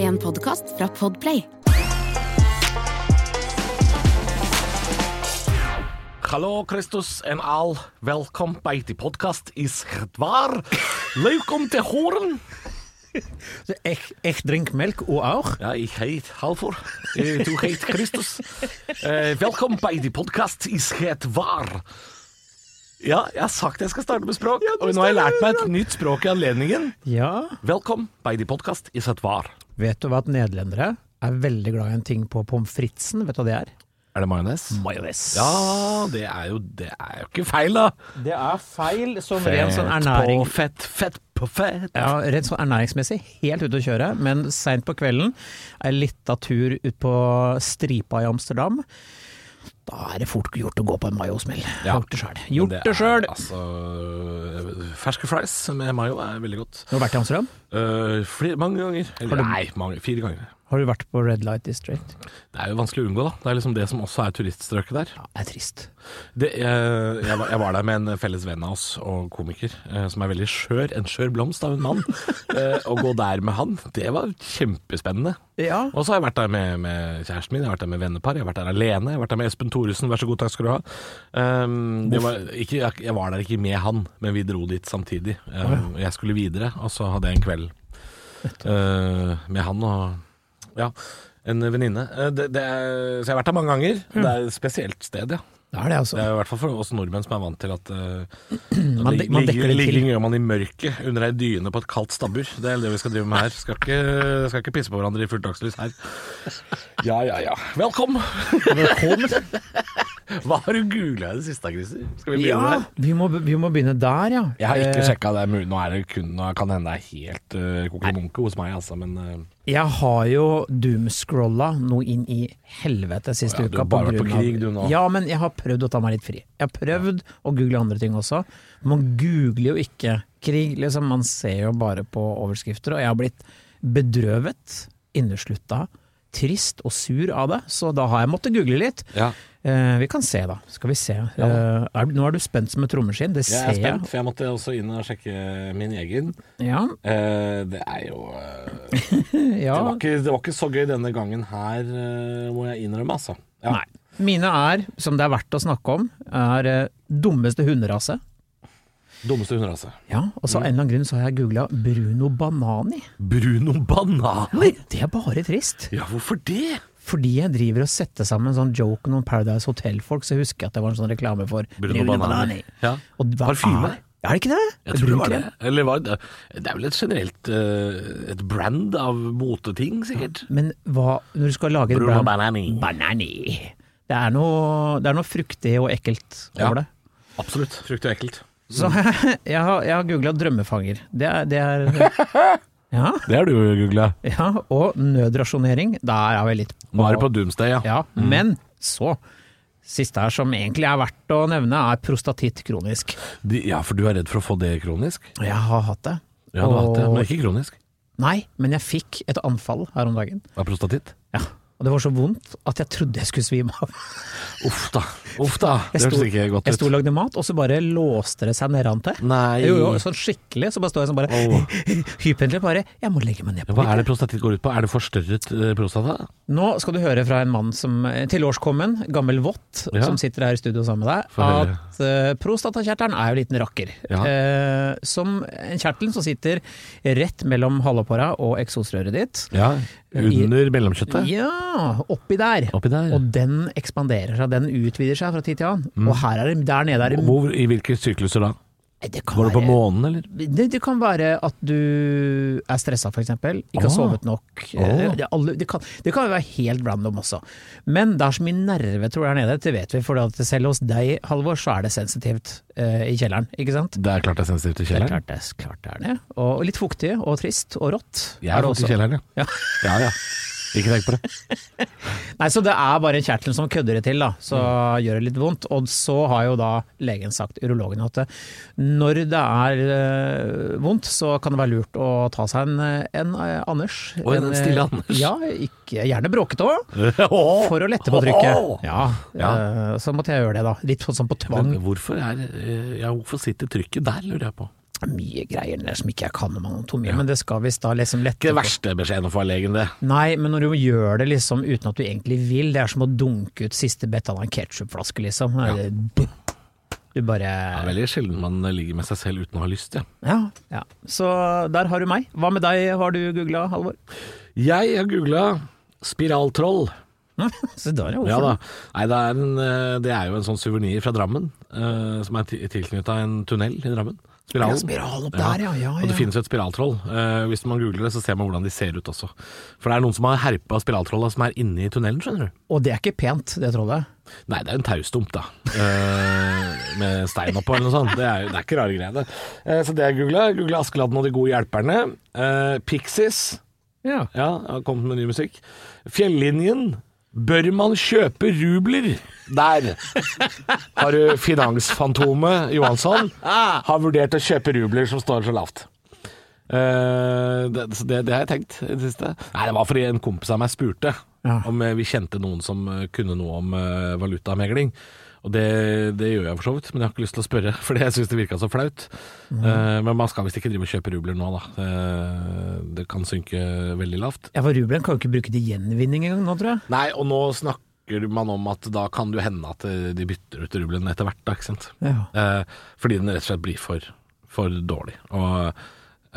en podkast fra Podplay. Hallo, Kristus en all. Velkommen på til podkast i Srdvar. Velkommen til Horen. Jeg, jeg drinker melk og aur. Ja, jeg heit Halvor. Eh, Du heit Kristus. Eh, velkommen på til podkast i Srdvar. Ja, jeg har sagt jeg skal starte med språk, og nå har jeg lært meg et nytt språk i anledningen. Ja. Velkommen på til podkast i Srdvar. Vet du hva at nederlendere er veldig glad i en ting på pommes fritesen? Vet du hva det er? Er det majones? Majones. Ja, det er jo Det er jo ikke feil, da. Det er feil som sånn på fett, fett på fett. Ja, rent sånn ernæringsmessig helt ute å kjøre, men seint på kvelden. En lita tur ut på stripa i Amsterdam. Da er det fort gjort å gå på en mayosmell. Ja. Gjort det sjøl. Gjort Men det er, sjøl! Altså, ferske fries med mayo er veldig godt. Har du vært i Amsterdam? Eh, flere, mange ganger. Eller, nei, mange, fire ganger. Har du vært på Red Light District? Det er jo vanskelig å unngå, da. Det er liksom det som også er turiststrøket der. Ja, det er trist. Det, eh, jeg, var- jeg var der med en felles venn av oss og komiker, eh, som er veldig skjør. En skjør blomst av en mann. Eh, Å gå der med han, det var kjempespennende. Ja. Og så har jeg vært der med, med kjæresten min, jeg har vært der med vennepar, jeg har vært der alene. Jeg har vært der med Espen Thoresen, vær så god, takk skal du ha. Um, det var ikke, jeg, jeg var der ikke med han, men vi dro dit samtidig. Um, jeg skulle videre, og så hadde jeg en kveld uh, med han og ja, en venninne. Uh, det, det er, så jeg har vært der mange ganger. Det er et spesielt sted, ja. Det er det, altså. Det er i hvert fall for oss nordmenn som er vant til at uh, Man dek- man ligger- dekker det til. Ligging gjør man i mørket under ei dyne på et kaldt stabbur. Det er det vi skal drive med her. Skal ikke, skal ikke pisse på hverandre i fullt dagslys her. Ja, ja, ja. Velkommen! Hva har du googla i det siste, Christer? Skal vi begynne Ja, der? vi må, vi må begynne der, ja. Jeg har ikke Eh, sjekka det. men Nå er det kun, nå kan det hende det er helt uh, kokemonke hos meg, altså. Men uh, Jeg har jo doomscrolla noe inn i helvete siste Å ja, du uka. har bare vært på grunn av- krig, du nå. Ja, men jeg har prøvd å ta meg litt fri. Jeg har prøvd å google andre ting også. Man googler jo ikke krig, liksom. Man ser jo bare på overskrifter. Og jeg har blitt bedrøvet, inneslutta, trist og sur av det. Så da har jeg måttet google litt. ja, Eh, vi kan se, da. Skal vi se. Eh, er, nå er du spent som et trommeskinn. Det jeg er ser jeg. spent, for jeg måtte også inn og sjekke min egen. Ja, Eh, det er jo eh, ja. det, var ikke, det var ikke så gøy denne gangen her, eh, må jeg innrømme, altså. Ja. Nei. Mine er, som det er verdt å snakke om, er eh, dummeste hunderase. Dummeste hunderase. Ja, og så av en eller annen grunn så har jeg googla Bruno Banani. Bruno Banan? Nei, det er bare trist. Ja, hvorfor det? Fordi jeg driver og setter sammen en sånn joke om Paradise Hotel-folk, så husker jeg at det var en sånn reklame for Bruno Banani. Ja. Og hva Parfyme. Er, er det ikke det? Jeg tror det var det. Brunkrem. Eller var det, det er vel et generelt eh, et brand av moteting, sikkert. Men hva, når du skal lage et Bruno brand Banani. Banani. Det er noe, det er noe fruktig og ekkelt Ja. over det. Absolutt. Fruktig og ekkelt. Så jeg har, jeg har googla drømmefanger. Det er, det er ja, Det har du googla. ja, og nødrasjonering. Der er vi litt Nå er det på Doomsday, ja. Ja, men så Siste her som egentlig er verdt å nevne, er prostatitt kronisk. De, ja, for du er redd for å få det kronisk? Og Jeg har hatt det. Ja, du har hatt det, Og- men ikke kronisk. Nei, men jeg fikk et anfall her om dagen. Av prostatitt? Ja. Og det var så vondt at jeg trodde jeg skulle svime av. Uff da. Uff da. Det Jeg sto- hørtes ikke godt Jeg ut. sto og lagde mat, og så bare låste det seg nedan til. Nei. Jo, jo, sånn skikkelig. Så bare står jeg sånn bare Åh. Hyperentlig bare Jeg må legge meg ned på Hva er litt. det prostatitt går ut på? Er det forstørret eh, prostata? Nå skal du høre fra en mann som tilårskommen, gammel vott, Ja. som sitter her i studio sammen med deg, Få høre. at eh, prostatakjertelen er jo en liten rakker. Ja. Eh, som en kjertel som sitter rett mellom halvåpåra og eksosrøret ditt. Ja. Under mellomkjøttet? Ja, oppi der. Oppi der? Og den ekspanderer seg, den utvider seg fra tid til annen. Og her er det, der nede er det Mm. Hvor, I hvilke sykluser da? Nei, det kan Går det på være- månen, eller? det, det kan være at du er stressa, f.eks. Ikke Åh. har sovet nok. Eh, Åh. Det, alle, det, kan, det kan være helt random også. Men det er så mye nerve tror jeg, her nede, det vet vi. For at selv hos deg, Halvor, så er det sensitivt eh, i kjelleren. Ikke sant? Det er klart det er sensitivt i Det er kjelleren. klart det, er- klart det er det. Og litt fuktig og trist og rått. Jeg er det faktisk i også. kjelleren, ja. Ja. ja, ja. Ikke tenk på det. Nei, Så det er bare kjertelen som kødder det til, da. Så gjør det litt vondt. Og så har jo da legen sagt, urologen, at det- når det er eh, vondt, så kan det være lurt å ta seg en, eh, en eh, Anders. Oi, en stille eh, Anders. Ja, ikke, gjerne bråkete òg, for å lette på trykket. Ja, eh, Så måtte jeg gjøre det, da. Litt sånn på tvang. Men hvorfor, er, eh, ja, hvorfor sitter trykket der, lurer jeg på. Det er mye greier der som ikke jeg kan om anatomi, men det skal visst da liksom lette Ikke den på. verste beskjeden å få av legen, det. Nei, men når du gjør det liksom uten at du egentlig vil, det er som å dunke ut siste bett av en ketsjupflaske, liksom. Det- Du Det er bare veldig sjelden man ligger med seg selv uten å ha lyst, ja. ja, ja. Så der har du meg. Hva med deg, har du googla, Halvor? Jeg har googla spiraltroll. Se der, ja. Ja Hvorfor? da. Nei, det er, en, eh, det er jo en sånn suvenir fra Drammen, eh, som er tilknytta en tunnel i Drammen. Spiralen. Ja, spiral opp der, ja, ja, Og det ja. finnes jo et spiraltroll. Eh, hvis man googler det, så ser man hvordan de ser ut også. For det er noen som har herpa spiraltrolla som er inne i tunnelen, skjønner du. Og det er ikke pent, det trollet. Nei, det er en taustump, da. Eh, med stein oppå eller noe sånt. Det er, jo- det er ikke rare greiene. Eh, så det jeg googla, googla Askeladden og de gode hjelperne. Eh, Pixies. Ja. Ja, jeg har kommet med ny musikk. Fjellinjen. Bør man kjøpe rubler? Der har du finansfantomet Johansson. Har vurdert å kjøpe rubler som står så lavt. Eh, det, så det, det har jeg tenkt i det siste. Nei, det var fordi en kompis av meg spurte Ja. om eh, vi kjente noen som eh, kunne noe om eh, valutamegling. Og det, det gjør jeg for så vidt, men jeg har ikke lyst til å spørre, fordi jeg syns det virka så flaut. Eh, men man skal visst ikke drive og kjøpe rubler nå, da. Eh, det kan synke veldig lavt. Ja, for Rubelen kan jo ikke bruke det i gjenvinning engang nå, tror jeg. Nei, og nå snakker man om at da kan det jo hende at eh, de bytter ut rubelen etter hvert, da, ikke sant. Ja. Eh, fordi den rett og slett blir for, for dårlig. Og,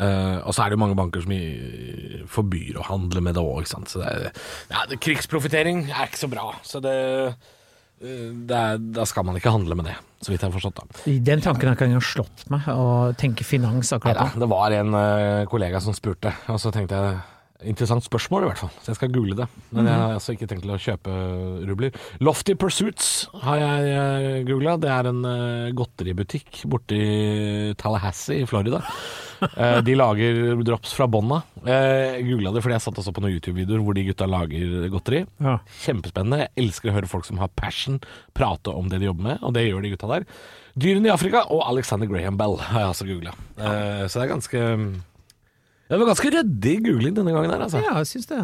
eh, og så er det jo mange banker som i- forbyr å handle med det òg, ikke sant. Så det er, ja, det, krigsprofitering er ikke så bra. Så det, eh, det er, da skal man ikke handle med det, så vidt jeg har forstått, da. Den tanken har ikke engang slått meg, å tenke finans akkurat Neida, da. det var en eh, kollega som spurte, og så tenkte jeg Interessant spørsmål, i hvert fall. Så jeg skal google det. Men jeg har altså ikke tenkt til å kjøpe rubler. Lofty Pursuits har jeg googla. Det er en eh, godteributikk borte i Tallahassee i Florida. Eh, de lager drops fra bånda. Eh, Jeg googla det fordi jeg satt og så på noen YouTube-videoer hvor de gutta lager godteri. Ja. Kjempespennende. Jeg elsker å høre folk som har passion, prate om det de jobber med, og det gjør de gutta der. Dyrene i Afrika og Alexander Graham Bell har jeg altså googla. så det er ganske ja, Det var ganske ryddig googling denne gangen her, altså. ja, jeg syns det.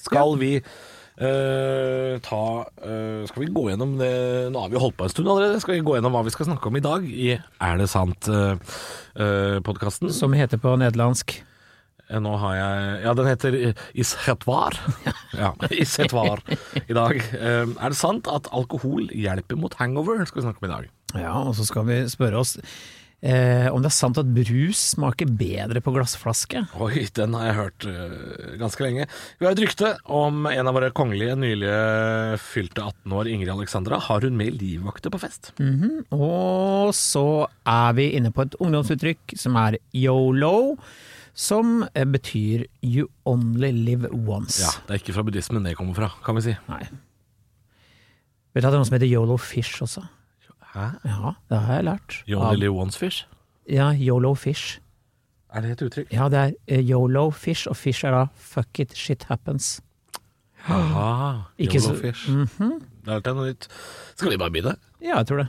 Skal vi eh, ta eh, Skal vi gå gjennom det Nå har vi jo holdt på en stund allerede. Skal vi gå gjennom hva vi skal snakke om i dag i Er det eh, sant-podkasten? Som heter på nederlandsk. Eh, Nå har jeg Ja, den heter eh, Isetvar. Ja, Isetvar i dag. Eh, Er det sant at alkohol hjelper mot hangover? Skal vi snakke om i dag. Ja, og så skal vi spørre oss eh, om det er sant at brus smaker bedre på glassflaske. Oi, den har jeg hørt eh, ganske lenge. Vi har et rykte om en av våre kongelige nylig fylte 18 år, Ingrid Alexandra. Har hun med livvakter på fest? Og så er vi inne på et ungdomsuttrykk som er yolo, som eh, betyr you only live once. Ja, Det er ikke fra buddhismen det kommer fra, kan vi si. Nei. Vet du at det er noe som heter yolo fish også? Hæ? Ja, det har jeg lært. Johnny Lee Onesfish? Ja, yolo fish. Er det et uttrykk? Ja, det er eh, yolo fish, og fish er da fuck it, shit happens. Aha, Ikke så- Yolofish. Det er alltid noe nytt. Skal vi bare begynne? Ja, jeg tror det.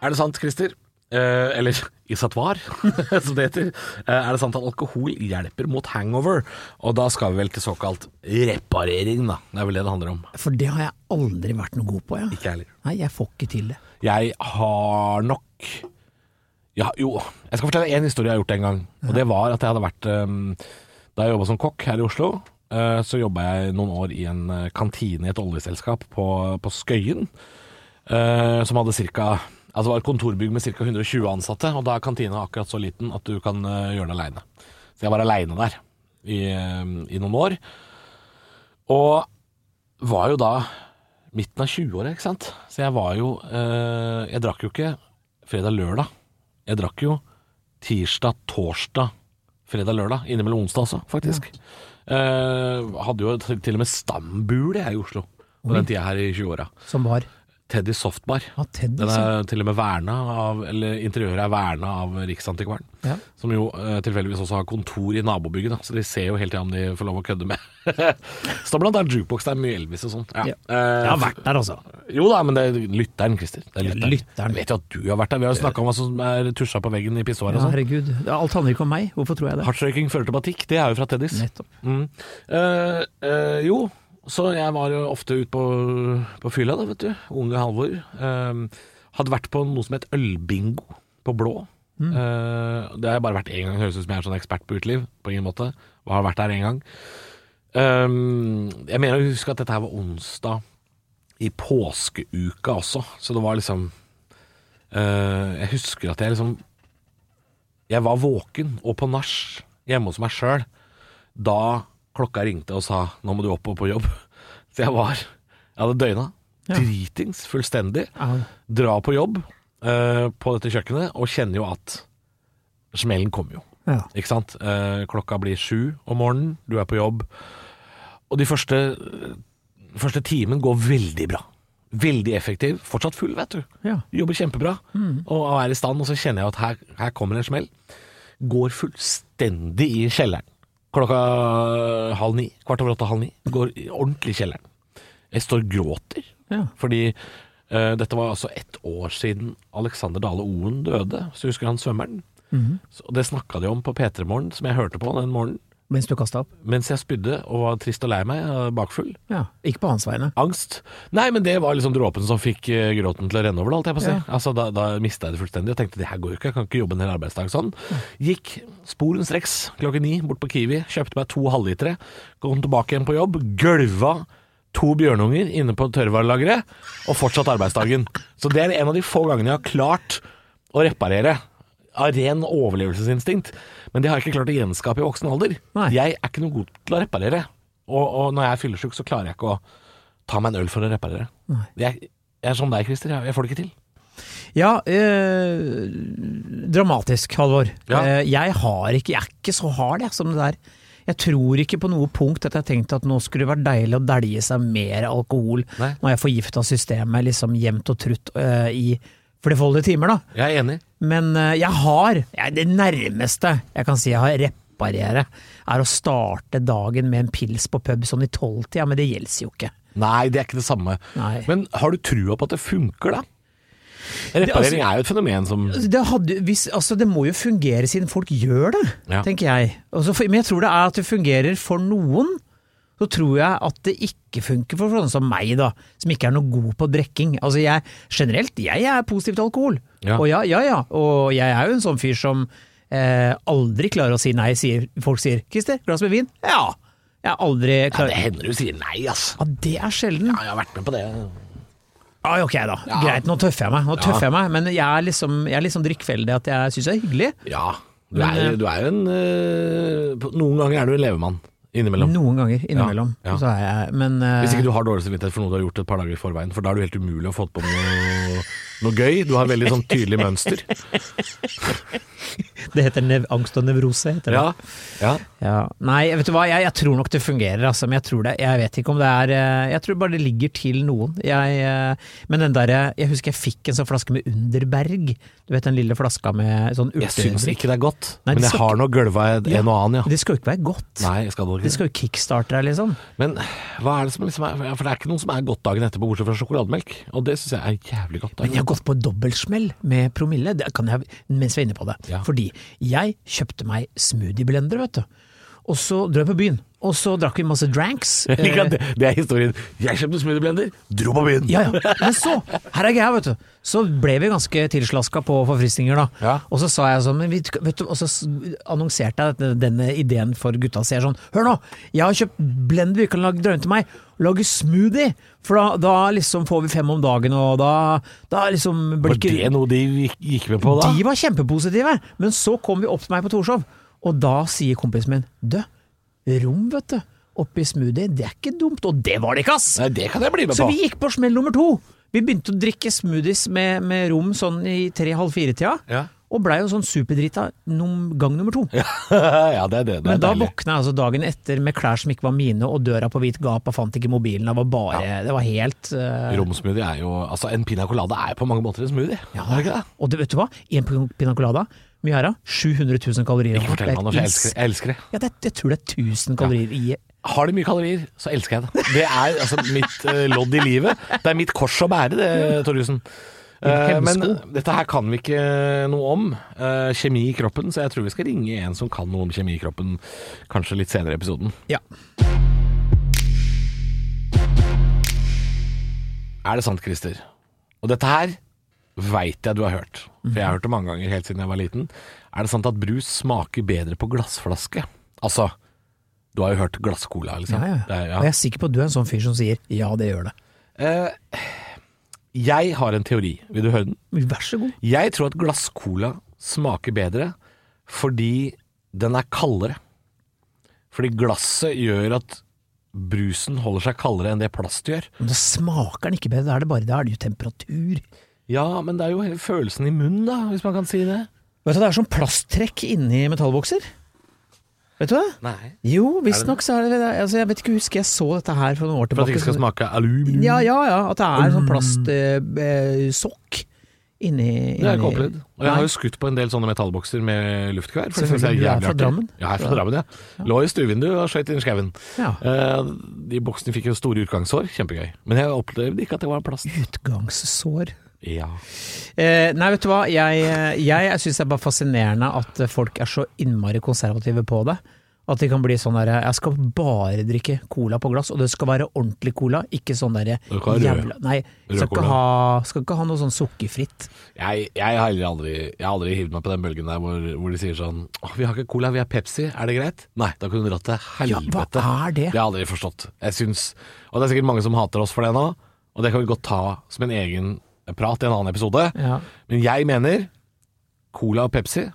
Er det sant, Christer? Eh, eller Isatvar, som det heter. Eh, er det sant at alkohol hjelper mot hangover? Og da skal vi vel til såkalt reparering, da. Det er vel det det handler om. For det har jeg aldri vært noe god på, jeg. Ikke jeg heller. Nei, jeg får ikke til det. Jeg har nok ja, Jo, jeg skal fortelle en historie jeg har gjort en gang. Og det var at jeg hadde vært eh, Da jeg jobba som kokk her i Oslo, eh, så jobba jeg noen år i en eh, kantine i et oljeselskap på, på Skøyen. eh, som hadde cirka Altså det var et kontorbygg med ca. 120 ansatte, og da er kantina akkurat så liten at du kan eh, gjøre det aleine. Så jeg var aleine der i, eh, i noen år. Og var jo da midten av 20-åra, ikke sant. Så jeg var jo eh, Jeg drakk jo ikke fredag-lørdag. Jeg drakk jo tirsdag, torsdag, fredag-lørdag. Innimellom onsdag også, faktisk. Eh, hadde jo til til og med stambule jeg i Oslo på den tida her i 20-åra. Som var Teddy Softbar. ja, Ted, Den liksom. er til og med verna av Eller interiøret er verna av Riksantikvaren. Ja. Som jo eh, tilfeldigvis også har kontor i nabobygget, da, så de ser jo hele tida om de får lov å kødde med. så da blant annet jukebox der, mye Elvis og sånn. Ja. Eh, Jeg har vært der, altså. Jo da, men det er lytteren, Christer. Det er Ja, lytteren. lytteren. Jeg vet jo at du har vært der. Vi har jo snakka om hva som er tusja på veggen i pissoaret og Ja, sånn. herregud. Alt handler ikke om meg. Hvorfor tror jeg det? Hardstrøyking fører til batikk, det er jo fra Teddys. Nettopp. Mm. Eh, eh, jo, så jeg var jo ofte ute på, på fylla, da, vet du. Unge Halvor. Eh, Hadde vært på noe som het ølbingo på Blå. Mm. Eh, det har jeg bare vært én gang. Høres ut som jeg er sånn ekspert på uteliv. På ingen måte. Og har vært der én gang. Um, jeg mener å huske at dette her var onsdag i påskeuka også, så det var liksom eh, Jeg husker at jeg liksom Jeg var våken og på nach hjemme hos meg sjøl da klokka ringte og sa 'nå må du opp og på jobb'. Så jeg var Jeg hadde døgna. Dritings fullstendig Au. dra på jobb eh, på dette kjøkkenet, og kjenner jo at smellen kommer jo. Ja. Ikke sant? Eh, klokka blir sju om morgenen, du er på jobb. Og de første, første timen går veldig bra. Veldig effektiv. Fortsatt full, vet du. Ja. Jobber kjempebra og er i stand. Og så kjenner jeg at her, her kommer en smell. Går fullstendig i kjelleren. Klokka halv ni, kvart over åtte, halv ni. Går i- ordentlig i kjelleren. Jeg står og gråter. Ja. Fordi eh, dette var altså ett år siden Alexander Dale Oen døde. Så husker han svømmeren. Så det snakka de om på P3 Morgen, som jeg hørte på den morgenen. Mens du kasta opp? Mens jeg spydde og var trist og lei meg, eh, bakfull. Ja. Ikke på hans vegne. Angst. Nei, men det var liksom dråpen som fikk eh, gråten til å renne over, det, holdt jeg på å si. Ja. Altså, da da mista jeg det fullstendig og tenkte det her går jo ikke, jeg kan ikke jobbe en hel arbeidsdag sånn. Gikk sporenstreks klokken ni bort på Kiwi, kjøpte meg to halvlitere, kom tilbake igjen på jobb, gølva to bjørnunger inne på tørrvarelageret, og fortsatt arbeidsdagen. Så det er en av de få gangene jeg har klart å reparere. Av ren overlevelsesinstinkt. Men det har jeg ikke klart å gjenskape i voksen alder. Nei. Jeg er ikke noe god til å reparere. Og, og når jeg er fyllesyk, så klarer jeg ikke å ta meg en øl for å reparere. Nei. Jeg, jeg er som deg, Christer. Jeg, jeg får det ikke til. Ja, eh, dramatisk, Halvor. Ja. Eh, jeg har ikke, jeg er ikke så hard jeg, som det der. Jeg tror ikke på noe punkt at jeg tenkte at nå skulle det vært deilig å dælje seg mer alkohol Nei. når jeg forgifta systemet liksom jevnt og trutt eh, i flerfoldige timer, da. Jeg er enig. Men eh, jeg har jeg, Det nærmeste jeg kan si jeg har reparere, er å starte dagen med en pils på pub sånn i tolvtida, men det gjelder jo ikke. Nei, det er ikke det samme. Nei. Men har du trua på at det funker, da? Reparering er altså- jo et fenomen som Altså, Det, hadde, hvis, altså, det må jo fungere siden folk gjør det, Ja. tenker jeg. Altså, for, men jeg tror det er at det fungerer for noen. Så tror jeg at det ikke funker for sånne som meg, da, som ikke er noe god på drikking. Altså jeg, generelt, jeg er positiv til alkohol. Ja. Og ja, ja, ja. Og jeg er jo en sånn fyr som eh, aldri klarer å si nei. Sier, folk sier 'Christer, glass med vin'? Ja. Jeg er aldri ja, Det klar hender du sier nei, ass. Ja, det er sjelden. Ja, jeg har vært med på det. Ja, ok da. Greit, nå tøffer jeg meg. Nå tøffer jeg meg. Men jeg er liksom, jeg er liksom drikkfeldig at jeg syns det er hyggelig. Ja. Du Men, er, eh, du er jo en øh, på- Noen ganger er du en levemann. Innimellom. Noen ganger, innimellom. Ja, ja. Så er jeg, men eh, Hvis ikke du har dårlig samvittighet for noe du har gjort et par dager i forveien, for da er det jo helt umulig å få på noe, noe gøy. Du har veldig sånn tydelig mønster. det heter nev angst og nevrose. Heter det. Ja, ja. eh, Ja. Nei, vet du hva, jeg, jeg tror nok det fungerer, altså. Men jeg tror det Jeg vet ikke om det er eh, Jeg tror bare det ligger til noen. Jeg, eh, men den derre Jeg husker jeg fikk en sånn flaske med Underberg. Du vet den lille flaska med sånn Jeg syns urtedrikk. ikke det er godt, Nei, det men jeg skal har nå gølva en Ja. en og annen, ja. Det skal jo ikke være godt. Nei, jeg skal nok Det ikke det. skal jo kickstarte deg, liksom. Men hva er det som liksom er For det er ikke noe som er godt dagen etterpå, bortsett fra sjokolademelk. Og det syns jeg er jævlig godt. Men jeg har gått på dobbeltsmell med promille, det kan jeg, mens vi er inne på det. Ja. Fordi jeg kjøpte meg smoothieblender, vet du. Og så dro jeg på byen, og så drakk vi masse dranks. Jeg liker at det, det er historien. Jeg kjøpte smoothieblender, dro på byen. Ja, ja. Men så, her er greia, vet du. Så ble vi ganske tilslaska på forfriskninger, da. Ja. Og så sa jeg sånn, men vet, vet du, og så s- annonserte jeg dette- denne ideen for gutta. Så jeg sånn, hør nå, jeg har kjøpt blender vi kan lage drømme til meg. Lage smoothie! For da, da liksom får vi fem om dagen, og da, da liksom blir Var ikke- det noe de gikk, gikk med på da? De var kjempepositive, men så kom vi opp til meg på Torshov, og da sier kompisen min Dø, rom, vet du, oppi smoothie, det er ikke dumt. Og det var det ikke, ass! Nei, det kan jeg bli med Så på. vi gikk på smell nummer to. Vi begynte å drikke smoothies med, med rom sånn i tre-halv fire-tida, Ja. og blei jo sånn superdrita nom, gang nummer to. ja, det er det. det Men er da deilig. våkna jeg altså dagen etter med klær som ikke var mine, og døra på vidt gap, og fant ikke mobilen, det var bare Det var helt eh, Romsmoothie er jo Altså, en piña colada er på mange måter en smoothie. Ja, er det ikke det? Og det, vet du hva? I en pina colada, mye her da, 700 000 kalorier. Ikke fortell meg noe, for jeg elsker, jeg elsker det. Ja, det, jeg tror det er 1000 kalorier i Har de mye kalorier, så elsker jeg det. Det er altså mitt eh, lodd i livet. Det er mitt kors å bære, det, Torjussen. Eh, men hemsko. dette her kan vi ikke noe om. eh, kjemi i kroppen, så jeg tror vi skal ringe en som kan noe om kjemi i kroppen, kanskje litt senere i episoden. Ja. Er det sant, Christer? Og dette her veit jeg du har hørt, for jeg har hørt det mange ganger helt siden jeg var liten. Er det sant at brus smaker bedre på glassflaske? Altså, du har jo hørt glasscola, liksom. Ja, ja. Det er- ja. Og jeg er sikker på at du er en sånn fyr som sier ja, det gjør det. Eh, jeg har en teori. Vil du høre den? Vær så god. Jeg tror at glasscola smaker bedre fordi den er kaldere. Fordi glasset gjør at brusen holder seg kaldere enn det plast gjør. Men da smaker den ikke bedre, da er det bare da er det jo temperatur. Ja, men det er jo hele følelsen i munnen, da, hvis man kan si det. Vet du, Det er sånn plasttrekk inni metallbokser. Vet du det? Nei. Jo, visstnok så er det det. Altså, jeg vet ikke, husker jeg så dette her for noen år For at det tilbake. ikke skal smake aluminium. Ja, ja, ja. At det er en sånn plastsokk eh, sokk inni Det har jeg ikke inni- opplevd. Og jeg har jo skutt på en del sånne metallbokser med luftkvær. For det synes jeg Selvfølgelig, er du er jævlig fra artig. Drammen. Ja, jeg er fra Drammen, ja. Lå i stuevinduet og skøyt inn i skauen. Ja. Eh, De boksene fikk jo store utgangssår. Kjempegøy. Men jeg opplevde ikke at det var plast. Utgangssår. Ja. Eh, nei, vet du hva. Jeg, eh, jeg syns det er bare fascinerende at eh, folk er så innmari konservative på det. At de kan bli sånn derre Jeg skal bare drikke cola på glass, og det skal være ordentlig cola, ikke sånn derre Du kan ha rød. jævla Nei, Rød skal ikke, cola. ha, skal ikke ha noe sånn sukkerfritt. Jeg, jeg har heller aldri, jeg har aldri hivd meg på den bølgen der hvor, hvor de sier sånn Åh, vi har ikke cola, vi har Pepsi. Er det greit? Nei, da kunne du dratt til Ja, hva helvete. er det? Det har jeg aldri forstått. Jeg syns Og det er sikkert mange som hater oss for det nå, og det kan vi godt ta som en egen prat i en annen episode. Ja. Men jeg mener cola og Pepsi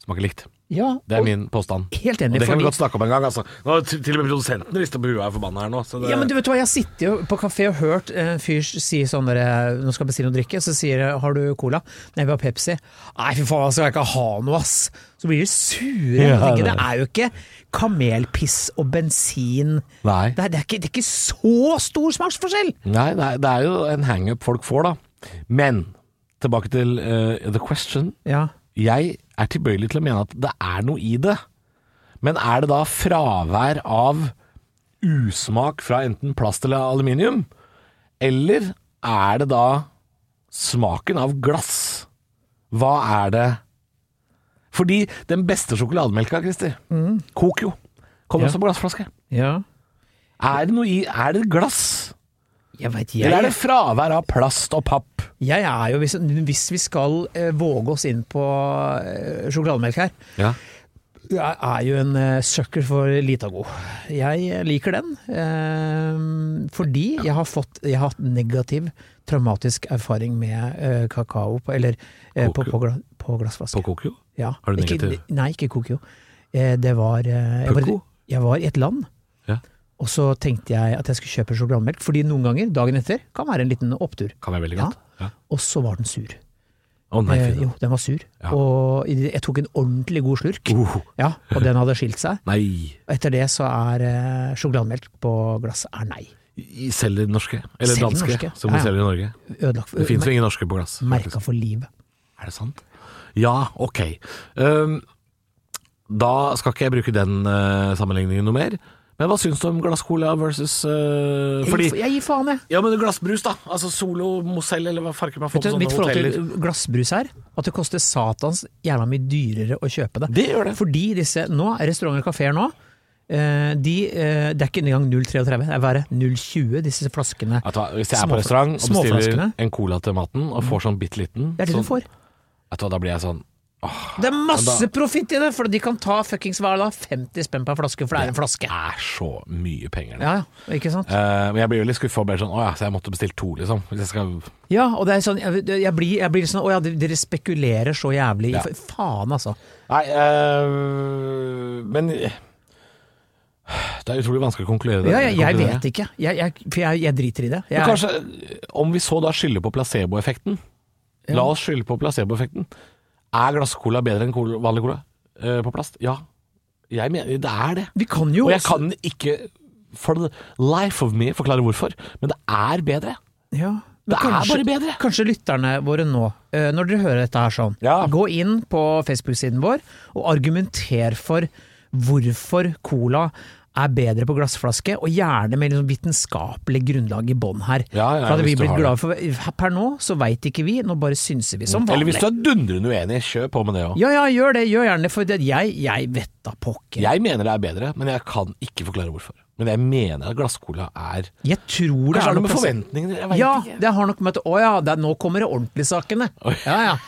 smaker likt. ja Det er og min påstand. Helt Og enig. det kan vi fordi- godt snakke om en gang. Altså. Nå, til til og med produsenten rister på huet og er forbanna her nå. Så det, Ja, men du vet hva, Jeg sitter jo på kafé og hørt en fyr si sånn der, Nå skal jeg bestille noe drikke, så sier jeg har du cola? Nei, vi har Pepsi. Nei, fy faen, skal jeg ikke ha noe, ass! Så blir de sure. Ja, Jeg tenker, det- det er jo ikke kamelpiss og bensin. Nei. Det er, det er, ikke, det er ikke så stor smaksforskjell! Nei, det er, det er jo en hangup folk får, da. Men tilbake til eh, the question. Ja. Jeg er tilbøyelig til å mene at det er noe i det. Men er det da fravær av usmak fra enten plast eller aluminium? Eller er det da smaken av glass? Hva er det Fordi den beste sjokolademelka, Christer, Kokio, kommer Ja. også på glassflaske. ja. Er det noe i Er det glass? Jeg veit, Eller er jeg, det fravær av plast og papp? jeg er jo Hvis, hvis vi skal eh, våge oss inn på eh, sjokolademelk her, Ja. Jeg er jo en eh, sucker for Litago. Jeg liker den eh, fordi jeg har fått Jeg har hatt negativ traumatisk erfaring med eh, kakao på, eller, eh, på, Kokio? på, gla, på glassflaske. På Kokio? Ja. Har du ikke, negativ? Nei, ikke kokio. Eh, det var eh, jeg, var Pucco? jeg var i et land, Ja. og så tenkte jeg at jeg skulle kjøpe sjokolademelk, fordi noen ganger, dagen etter, kan være en liten opptur. Kan være veldig Ja. godt. Ja. Og så var den sur. Å nei, Eh, fy da. jo, den var sur. Ja. Og jeg tok en ordentlig god slurk, Uh, ja, og den hadde skilt seg. nei. Og Etter det så er eh, sjokolademelk på glass er nei. I- Selv de norske, eller Selv de danske, norske. som de Ja, Eh, ja. selger i Norge. Ødelagt for, Det fins jo ingen norske på glass. merka for livet. Er det sant? Ja, ok. Um, da skal ikke jeg bruke den eh, sammenligningen noe mer. Men hva syns du om glasscola versus eh, Jeg, Fordi gir- jeg gir faen, jeg. Ja, men glassbrus, da. Altså Solo, Mozell eller hva farker man får på Vet du, sånne mitt forhold hoteller. til glassbrus her, at det koster satans jævla mye dyrere å kjøpe det. Det gjør det. Fordi disse nå, restauranter og kafeer nå, eh, de, eh, det er ikke engang 0,33, det er verre 0,20 disse flaskene. Vet du hva, hvis jeg er på Småfla- restaurant og bestiller småflaskene. en cola til maten og får sånn bitte liten, Det er det så, du får. vet du hva, da blir jeg sånn Det er masse da- profitt i det, for de kan ta fuckings hva er det da, 50 spenn per flaske, for det er en flaske. Det er så mye penger. nå. Ja, ja, ikke sant? Eh, men jeg blir jo litt skuffa og blir sånn Å ja, så jeg måtte bestille to, liksom. Hvis jeg skal Ja, og det er sånn, jeg, jeg, blir, jeg blir sånn Å ja, dere spekulerer så jævlig. i- Ja. Faen, altså. Nei, eh, men Det er utrolig vanskelig å konkludere. Ja, jeg, jeg konkludere. vet ikke. Jeg, jeg, for jeg, jeg driter i det. Jeg, Men kanskje, om vi så da skylder på placeboeffekten Ja. La oss skylde på placeboeffekten. Er glasscola bedre enn cola, vanlig cola eh, på plast? Ja. Jeg mener det er det. vi kan jo altså- Og jeg kan ikke for the life of me forklare hvorfor, men det er bedre. ja, men Det kanskje, er bare bedre. Kanskje lytterne våre nå, eh, når dere hører dette her sånn, Ja. gå inn på Facebook-siden vår og argumenter for hvorfor cola er bedre på glassflaske, og gjerne med liksom vitenskapelig grunnlag i bånn her. Ja, ja, for hadde hvis vi du blitt har det. glade for Per nå så veit ikke vi, nå bare synser vi som vanlig. Eller hvis du er dundrende uenig, kjør på med det òg. Ja, ja, gjør det, gjør gjerne det, for det, jeg, jeg vet da pokker. Jeg mener det er bedre, men jeg kan ikke forklare hvorfor. Men jeg mener at glasscola er Jeg tror det Kanskje er har det noe med plass- forventningene jeg vet Ja, ikke. det har nok med at Å ja, det er, nå kommer det ordentlige sakene. Ja, ja.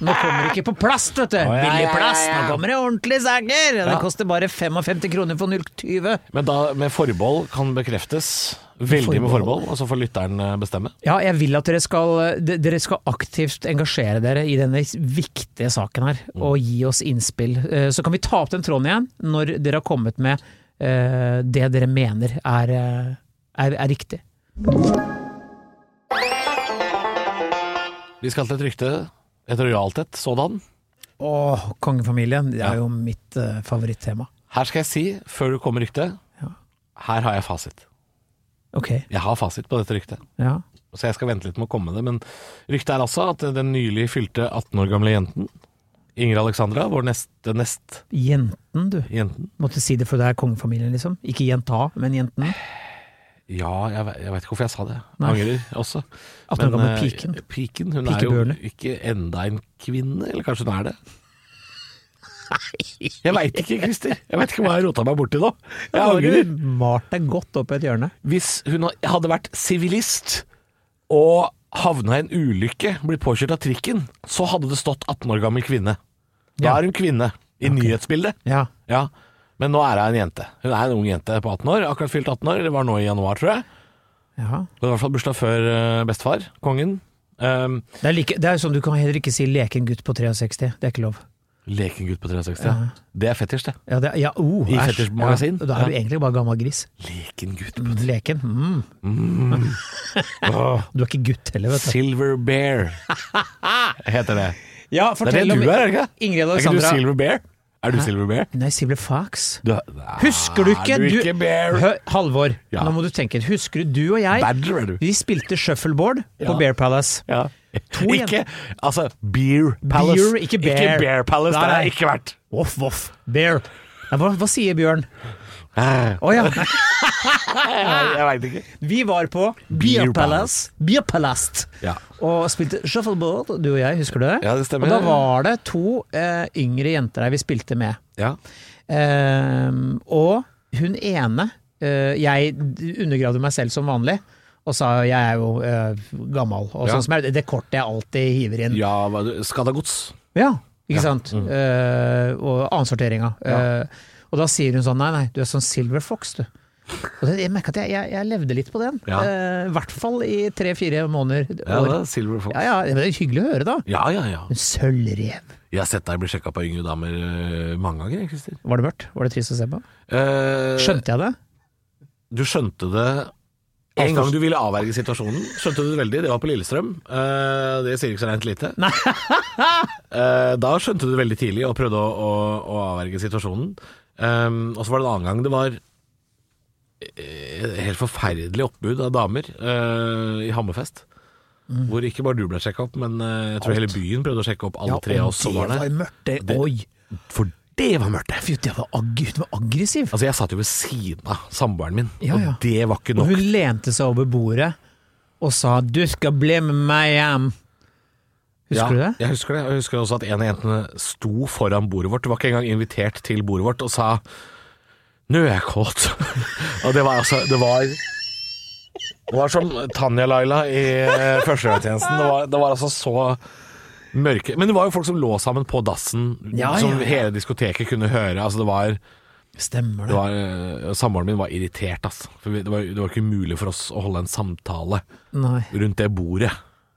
Nå kommer det ikke på plast, vet du. ja, Billig ja, plast. ja, ja. Nå kommer det ordentlige saker. Det Ja. koster bare 55 kroner for 0,20. Men da med forbehold kan bekreftes. Veldig med Forbehold. forbehold, og så får lytteren eh, bestemme. Ja, jeg vil at dere skal, de- dere skal aktivt engasjere dere i denne viktige saken her, og gi oss innspill. Eh, Så kan vi ta opp den tråden igjen når dere har kommet med eh, det dere mener er, eh, er, er riktig. Vi skal til et rykte. Et rojalt et sådan. Åh, kongefamilien. Det er jo mitt eh, favorittema. Her skal jeg si, før du kommer ryktet, Ja. her har jeg fasit. Ok, Jeg har fasit på dette ryktet. ja. Så jeg skal vente litt med å komme med det, men ryktet er altså at den nylig fylte 18 år gamle jenten, Inger Alexandra, vår neste nest Jenten, du. jenten Måtte si det, for det er kongefamilien, liksom. Ikke jenta, men jenten. Ja, jeg, ve- jeg vet ikke hvorfor jeg sa det. Nei. Angrer også. 18 år Men, gamle eh, piken. piken. Hun Pikebjørnet. er jo ikke enda en kvinne, eller kanskje hun er det? Jeg veit ikke, Christer. Jeg veit ikke hva jeg rota meg borti nå. Jeg Da har angrer. du malt deg godt opp i et hjørne. Hvis hun hadde vært sivilist og havna i en ulykke, blitt påkjørt av trikken, så hadde det stått 18 år gammel kvinne. Da Ja. er hun kvinne i nyhetsbildet. Ja. Ja, men nå er hun en jente. Hun er en ung jente på 18 år. Akkurat fylt 18 år. Det var nå i januar, tror jeg. ja. Hun hadde i hvert fall bursdag før eh, bestefar, kongen. Um, Det er, like, det er jo sånn du kan heller ikke si leken gutt på 63, det er ikke lov. Lekengutt på 360. Ja. Det er fetisj, det. Ja, det, ja, oh, I æsj. fetisjmagasin. Ja, da er du egentlig bare gammel gris. Lekengutt. Leken. Mm. Du er ikke gutt heller, vet du. Silver Bear heter det. Ja, Det er det du er, er det ikke? Ingrid Er ikke du Alexandra. Silver Bear? Er du Silver Bear? Nei, Silver Fox. Du, Husker du ikke? Er du ikke Bear? Hø, Halvor, Ja. nå må du tenke. Husker du, du og jeg, Badger er du. vi spilte shuffleboard på Ja. Bear Palace. Ja. To igjen. Ikke altså Beer Palace. Beer, ikke Bear. Palace, der Nei, har nei. jeg ikke vært. Voff, voff. Bear. Nei, hva, hva sier Bjørn? Å ja. Jeg, jeg veit ikke. Vi var på Beer Beer Palace, Beer Palace Ja. og spilte shuffleboard, du og jeg, husker du det? Ja, det stemmer. Og da var det to eh, yngre jenter her vi spilte med. Ja. Ehm, og hun ene eh, Jeg undergravde meg selv som vanlig. Og sa jeg er jo eh, gammel, og Ja. sånn som jeg, det kortet jeg alltid hiver inn. Ja, ja hva du- Skadda gods. ikke sant? Mm. Eh, og annensorteringa. Eh, og da sier hun sånn nei, nei, du er sånn Silver Fox, du. Og det, jeg merka at jeg, jeg, jeg levde litt på den. Ja. Eh, I hvert fall i tre-fire måneder. Ja, år. da, Silver Fox. Ja, ja, det er hyggelig å høre, da. Ja, ja, ja. En sølvrev. Jeg har sett deg bli sjekka på yngre damer eh, mange ganger, jeg, Christer. Var det mørkt? Var det trist å se på? Eh, Skjønte jeg det? Du skjønte det en gang du ville avverge situasjonen. Skjønte du det veldig? Det var på Lillestrøm. Eh, det sier ikke så rent lite. Eh, da skjønte du det veldig tidlig og prøvde å, å, å avverge situasjonen. Eh, og så var det en annen gang det var eh, helt forferdelig oppbud av damer eh, i Hammerfest. Mm. Hvor ikke bare du ble sjekka opp, men eh, jeg tror hele byen prøvde å sjekke opp alle tre av oss som var der. mørkt, det. Det- Oi. For det var mørkt, det! Fy, det var ag hun var aggressiv. Altså, jeg satt jo ved siden av samboeren min, Ja, ja. og det var ikke Og nok. hun lente seg over bordet og sa 'du skal bli med meg hjem'. Husker du ja, det? Jeg husker det. og Jeg husker også at en av jentene sto foran bordet vårt, var ikke engang invitert til bordet vårt, og sa Nå er jeg kåt. og det var altså Det var det var som Tanja Laila i eh, førstegangstjenesten. Det, var- det var altså så mørke Men det var jo folk som lå sammen på dassen, Ja, som ja, ja. hele diskoteket kunne høre. Altså det var, Stemmer det det. var eh, Samboeren min var irritert, altså. For vi- det var, det var ikke mulig for oss å holde en samtale Nei. rundt det bordet.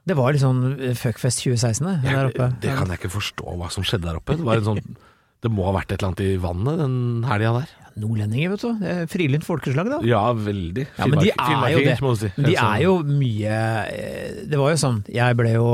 Det var litt sånn eh, fuckfest 2016 det, der oppe. Det kan jeg ikke forstå hva som skjedde der oppe. Det, var en sånn, det må ha vært et eller annet i vannet den helga der. Ja, Nordlendinger, vet du. Det er Frilynt folkeslag, da. Ja, veldig. Ja, men Finnmark- de er jo Finnmarkinger, det. må du si. Men de Helt sånn- er jo mye eh, Det var jo sånn, jeg ble jo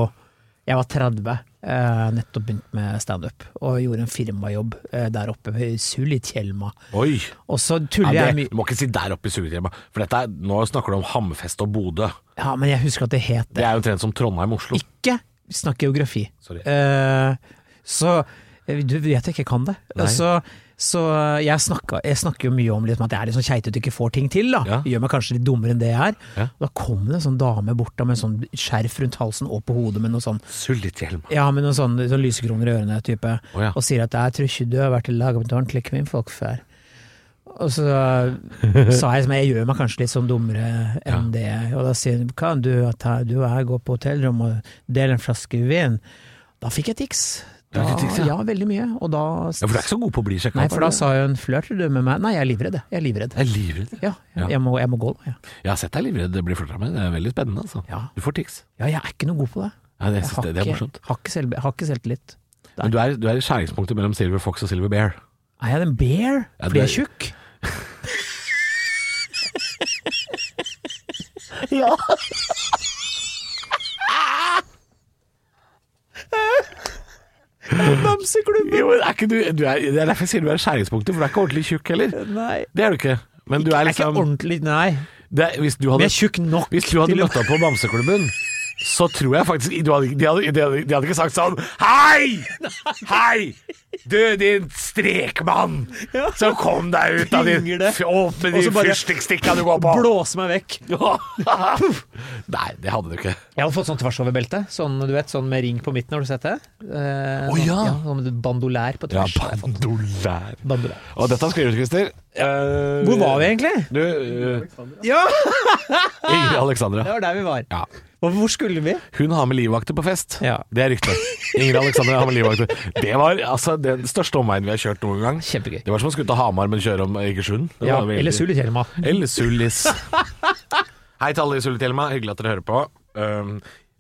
Jeg var 30, eh, nettopp begynt med standup, og gjorde en firmajobb eh, der oppe ved Sulitjelma. Oi! Og så Ja, tuller jeg det, mye du må ikke si der oppe i Sugehjemma, for dette er, nå snakker du om Hammerfest og Bodø. Ja, men jeg husker at det het Det er jo omtrent som Trondheim-Oslo. Ikke snakk geografi. Sorry. Eh, så eh, du vet jeg ikke kan det. Nei. Så, så jeg, snakka, jeg snakker jo mye om liksom, at jeg er litt sånn keitete og ikke får ting til. Da. Ja. Gjør meg kanskje litt dummere enn det jeg er. Ja. Da kom det en sånn dame bort da, med en sånn skjerf rundt halsen og på hodet med noe sånn Sulithjelma. ja, med noen sånne, sånne lysekroner i ørene type, Å ja. og sier at jeg tror ikke du har vært i lag med ordentlige kvinnfolk før. Og så sa jeg som jeg gjør meg kanskje litt sånn dummere enn det. Og da sier hun kan du at jeg- du og jeg går på hotellrommet og deler en flaske vin. Da fikk jeg tics. Du Da, fikk tics, ja. ja. veldig mye. Og da Ja, for du er ikke så god på å bli sjekka Nei, for da sa hun flørter du med meg? Nei, jeg er livredd. jeg. Jeg er livredd. Jeg er livredd. Ja, Ja. jeg, må, jeg må gå nå. Ja. Jeg har sett deg livredd bli flørta med. Det er veldig spennende, altså. Ja. Du får tics. ja, jeg er ikke noe god på det. Ja, det, Jeg jeg synes det, det er morsomt. ikke- har ikke selv- har ikke selvtillit. Nei. Men du er, du er i skjæringspunktet mellom Silver Fox og Silver Bear. Er jeg en bear? Ja, Fordi jeg er det- tjukk? Ja. Bamseklubben! Jo, men er ikke du, du er, Det er derfor jeg sier du er i skjæringspunktet, for du er ikke ordentlig tjukk heller. Nei. Det er du ikke. Men du er Jeg er ikke liksom ordentlig Nei, det er, hvis, du men hadde, jeg er tjukk nok. hvis du hadde til å- møtt opp på Bamseklubben, så tror jeg faktisk du hadde, de, hadde, de, hadde, de hadde ikke sagt sånn Hei! Hei! Du, din strekmann! Ja. Så kom deg ut av din Pinger det. f- Opp med Og de så bare- fyrstikkstikka du går på! Blåse meg vekk. Nei, det hadde du ikke. Jeg hadde fått sånn tvers over beltet, sånn, du vet, sånn med ring på midten, har du sett det? Å, Eh, sånn- ja. Sånn med bandolær på Ja, tvers. bandolær. bandolær. Og dette skriver du, Christer. Eh, Hvor var vi egentlig? Du, eh, Ja, Ingrid Alexandra. det var der vi var. Ja. Og hvor skulle vi? Hun har med livvakter på fest. Ja. Det er ryktet. Ingrid Alexandra har med livvakter. Det var altså den største omveien vi har kjørt noen gang. Kjempegøy. Det var som å skulle til Hamar, men kjøre om Egersund. Det Ja, var veldig- eller Sulitjelma. Eller Sullis. Hei til alle i Sulitjelma, hyggelig at dere hører på. Um,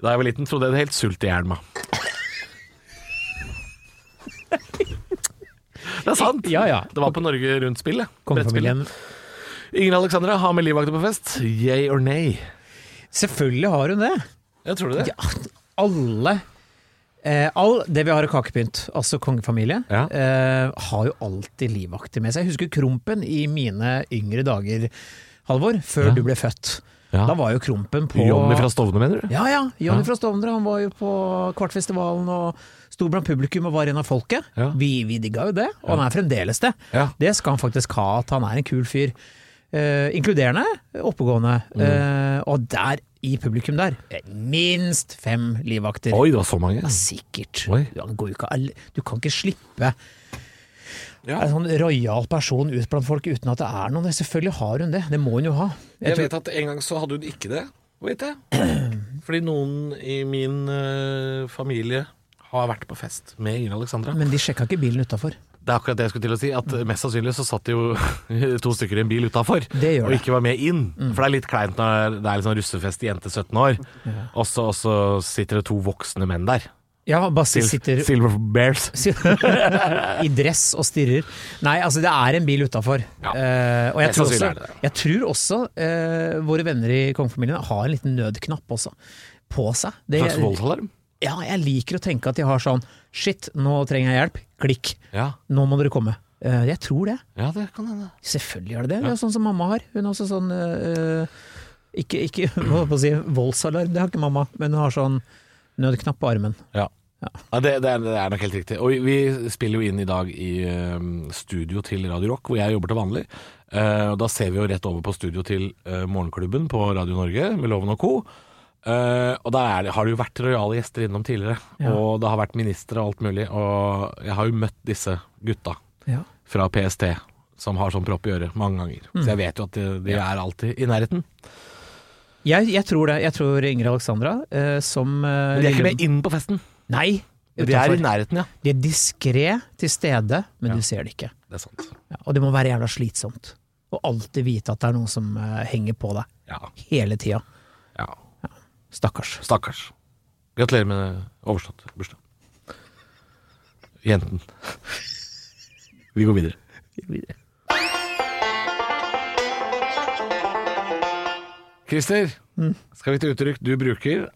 da jeg var liten, trodde jeg det helt Sult i hjelma. Det er sant. Ja, ja. Det var på Norge Rundt-spillet. Kongefamilien. Ingrid Alexandra har med livvakter på fest. Yay or nay? Selvfølgelig har hun det. Jeg tror det. Ja, alle eh, all, Det vi har i kakepynt, altså kongefamilie, Ja. eh, har jo alltid livvakter med seg. Jeg husker Krompen i mine yngre dager, Halvor, før Ja. du ble født. Ja. Da var jo Krompen på Jonny fra Stovner, mener du? Ja, ja. Jonny Ja. fra Stovner. Han var jo på Kvartfestivalen og sto blant publikum og var en av folket. Ja. Vi, vi digga jo det, og han er fremdeles det. Ja. Det skal han faktisk ha, at han er en kul fyr. Eh, inkluderende, oppegående. Mm. Eh, og der, i publikum der, eh, minst fem livvakter. Oi, det var så mange. Ja, sikkert. Oi. Du, han går jo ikke, all- du kan ikke slippe Ja. en sånn rojal person ut blant folk uten at det er noen. Selvfølgelig har hun det, det må hun jo ha. Jeg vet at en gang så hadde hun ikke det, vet jeg. Fordi noen i min eh, familie har vært på fest med Ingrid Alexandra. Men de sjekka ikke bilen utafor. Det er akkurat det jeg skulle til å si, at mest sannsynlig så satt det jo to stykker i en bil utafor Det gjør og det. Mm. ikke var med inn. For det er litt kleint når det er liksom russefest i jente 17 år, og så og så sitter det to voksne menn der. Ja, bare Sil- sitter Silver Bears. I dress og stirrer. Nei, altså det er en bil utafor. Eh, Ja. og jeg Mest tror sannsynlig også, er det det. jeg tror også eh, våre venner i kongefamilien har en liten nødknapp også. På seg. Det, Slags voldsalarm. ja, jeg liker å tenke at de har sånn Shit, nå trenger jeg hjelp. Klikk. Ja. Nå må dere komme. Eh, jeg tror det. ja, det kan hende. Selvfølgelig er det det. Det er jo sånn som mamma har. Hun har også sånn øh, Ikke, ikke hva holdt på å si, voldsalarm, det har ikke mamma, men hun har sånn nødknapp på armen. Ja. Ja, det, det, er, det er nok helt riktig. Og vi, vi spiller jo inn i dag i eh, studio til Radio Rock, hvor jeg jobber til vanlig. Eh, og da ser vi jo rett over på studio til eh, Morgenklubben på Radio Norge med Loven og co. Eh, og der er det, har det jo vært rojale gjester innom tidligere. Ja. Og det har vært ministre og alt mulig. Og jeg har jo møtt disse gutta Ja. fra PST som har sånn propp i øret mange ganger. Så jeg vet jo at de, de er alltid i nærheten. Jeg, jeg tror det. Jeg tror Ingrid Alexandra øh, som øh, Men de er ikke lille- med inn på festen. Nei, Men De er utenfor. i nærheten, ja. De er diskré til stede, men Ja. du ser det ikke. Det er sant. Ja, og det må være jævla slitsomt. Å alltid vite at det er noen som øh, henger på deg. Ja. Hele tida. ja. Stakkars. Stakkars. Gratulerer med overstått bursdag. Jenten. Vi går videre. Christer, skal vi til uttrykk du bruker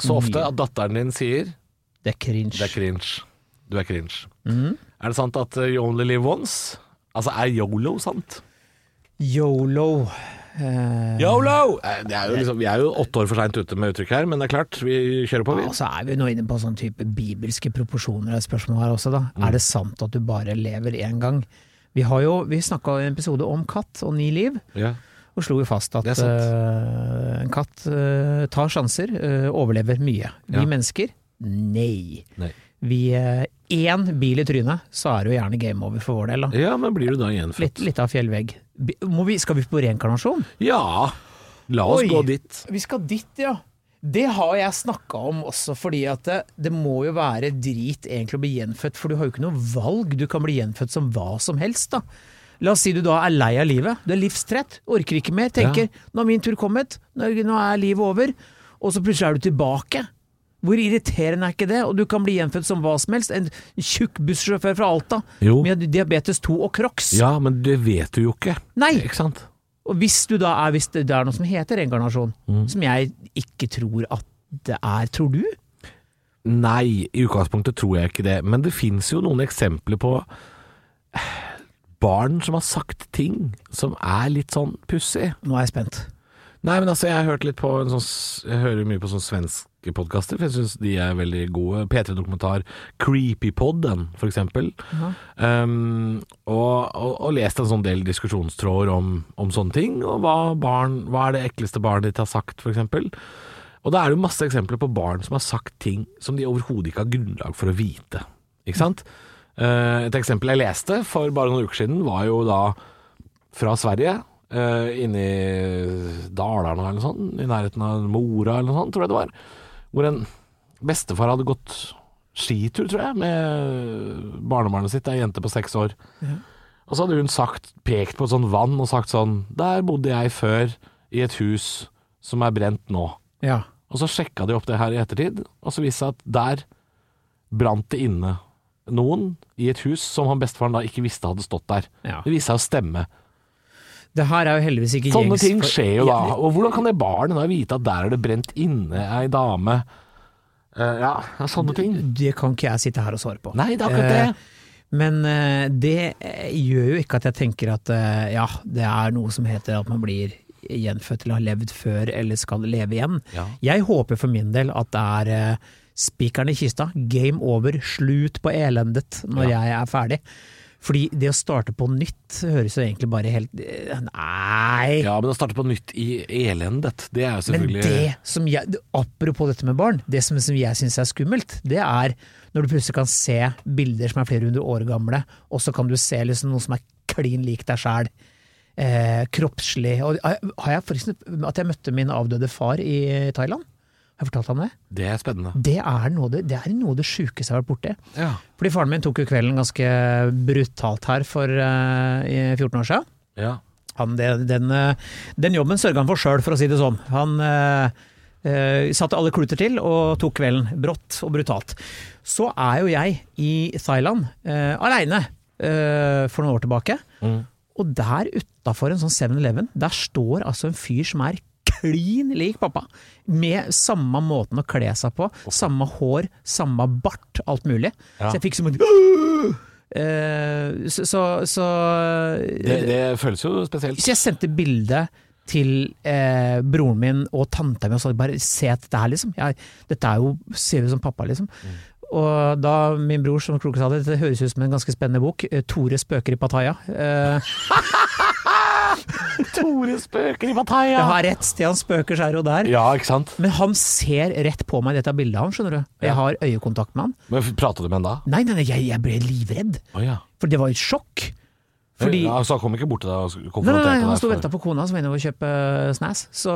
så ofte at datteren din sier Det er cringe. det er cringe. Du er cringe. Er det sant at uh, you only live once? Altså, er yolo sant? Yolo. Eh, Yolo! Eh, Det er jo liksom, vi er jo åtte år for seint ute med uttrykk her, men det er klart, vi kjører på, vi. Ja, og så er vi nå inne på sånn type bibelske proporsjoner av spørsmålet her også, da. Mm. Er det sant at du bare lever én gang? Vi har jo, vi snakka i en episode om katt og ni liv, Ja. og slo jo fast at Det er sant. eh, en katt eh, tar sjanser, eh, overlever mye. Vi Ja. mennesker, nei. Nei. vi eh, én bil i trynet, så er det jo gjerne game over for vår del. Da. Ja, men blir du da gjenfødt? Litt, litt av fjellvegg. Bi- Må vi, skal vi på reinkarnasjon? Ja, la oss Oi. gå dit. Vi skal dit, ja. Det har jeg snakka om også, fordi at det, det må jo være drit egentlig å bli gjenfødt, for du har jo ikke noe valg. Du kan bli gjenfødt som hva som helst, da. La oss si du da er lei av livet. Du er livstrett, orker ikke mer. Tenker nå er min tur kommet, nå er- nå er livet over. Og så plutselig er du tilbake. Hvor irriterende er ikke det? Og du kan bli gjenfødt som hva som helst. En tjukk bussjåfør fra Alta Jo. med diabetes 2 og crocs. Ja, men det vet du jo ikke. Nei! Ikke sant? Og hvis du da er, hvis det det er noe som heter reinkarnasjon, Mm. som jeg ikke tror at det er, tror du? Nei, i utgangspunktet tror jeg ikke det. Men det fins jo noen eksempler på barn som har sagt ting som er litt sånn pussig. Nå er jeg spent. Nei, men altså, jeg har hørt litt på en sånn s- Jeg hører mye på sånne svenske podkaster, for jeg syns de er veldig gode. P3-dokumentar Creepypodden, for eksempel. Um, og, og, og lest en sånn del diskusjonstråder om, om sånne ting, og hva, barn, hva er det ekleste barnet ditt har sagt, for eksempel. Og da er det jo masse eksempler på barn som har sagt ting som de overhodet ikke har grunnlag for å vite. Ikke sant? Eh, Et eksempel jeg leste for bare noen uker siden, var jo da fra Sverige. eh, inne i Dalarna eller noe sånt, i nærheten av Mora eller noe sånt, tror jeg det var. Hvor en bestefar hadde gått skitur, tror jeg, med barnebarnet sitt, ei jente på seks år. Og så hadde hun sagt, pekt på et sånt vann og sagt sånn Der bodde jeg før, i et hus som er brent nå. Ja. Og så sjekka de opp det her i ettertid, og så viste det seg at der brant det inne noen i et hus som han bestefaren da ikke visste hadde stått der. Ja. Det viste seg å stemme. Det her er jo heldigvis ikke Sånne gjengs- ting for- skjer jo da. Ja, Og hvordan kan det barnet da vite at der er det brent inne ei dame? Eh, ja, ja, sånne ting. det, det kan ikke jeg sitte her og svare på. Nei, det er akkurat det. Men eh, det eh, gjør jo ikke at jeg tenker at eh, ja, det er noe som heter at man blir gjenfødt eller har levd før eller skal leve igjen. Ja. Jeg håper for min del at det er eh, spikeren i kista, game over, slutt på elendet når jeg er ferdig. Fordi det å starte på nytt høres jo egentlig bare helt eh, Nei! Ja, men å starte på nytt i elendet, det er jo Men selvfølgelig det som jeg, apropos dette med barn, det som, som jeg syns er skummelt, det er når du plutselig kan se bilder som er flere hundre år gamle, og så kan du se liksom noe som er klin lik deg sjæl. Eh, kroppslig. Og, har jeg forresten at jeg møtte min avdøde far i Thailand? Har jeg fortalt ham det? det er spennende. Det er noe av det, det, er noe av det sjukeste jeg har vært borti. Ja. Fordi faren min tok jo kvelden ganske brutalt her for eh, i 14 år siden ja. han, det, den, eh, den jobben sørga han for sjøl, for å si det sånn. Han eh, eh, satte alle kluter til og tok kvelden brått og brutalt. Så er jo jeg i Thailand eh, aleine eh, for noen år tilbake. Mm. Og der utafor en sånn 7-Eleven, der står altså en fyr som er klin lik pappa. Med samme måten å kle seg på, samme hår, samme bart, alt mulig. Ja. Så jeg fikk sånn eh, Så, så, så Det, det føles jo spesielt. så jeg sendte bilde til eh, broren min og tanta mi og sa bare se dette her, liksom. Jeg, dette er jo, ser ut som pappa, liksom. Mm. Og da min bror som kloke sa det, det høres ut som en ganske spennende bok, eh, 'Tore spøker i Pattaya'. Eh, Tore spøker i Pattaya! jeg har ett sted han spøker her og der. Ja, ikke sant? Men han ser rett på meg i dette bildet, han, skjønner du. Jeg har øyekontakt med han. Men prata du med henne da? Nei, nei, nei jeg, jeg ble livredd. Å ja. For det var jo et sjokk. Fordi ja, så han kom ikke bort til deg og Nei, nei, konfronterte nei, deg? han sto og for- venta på kona som var inne og kjøpe snacks, så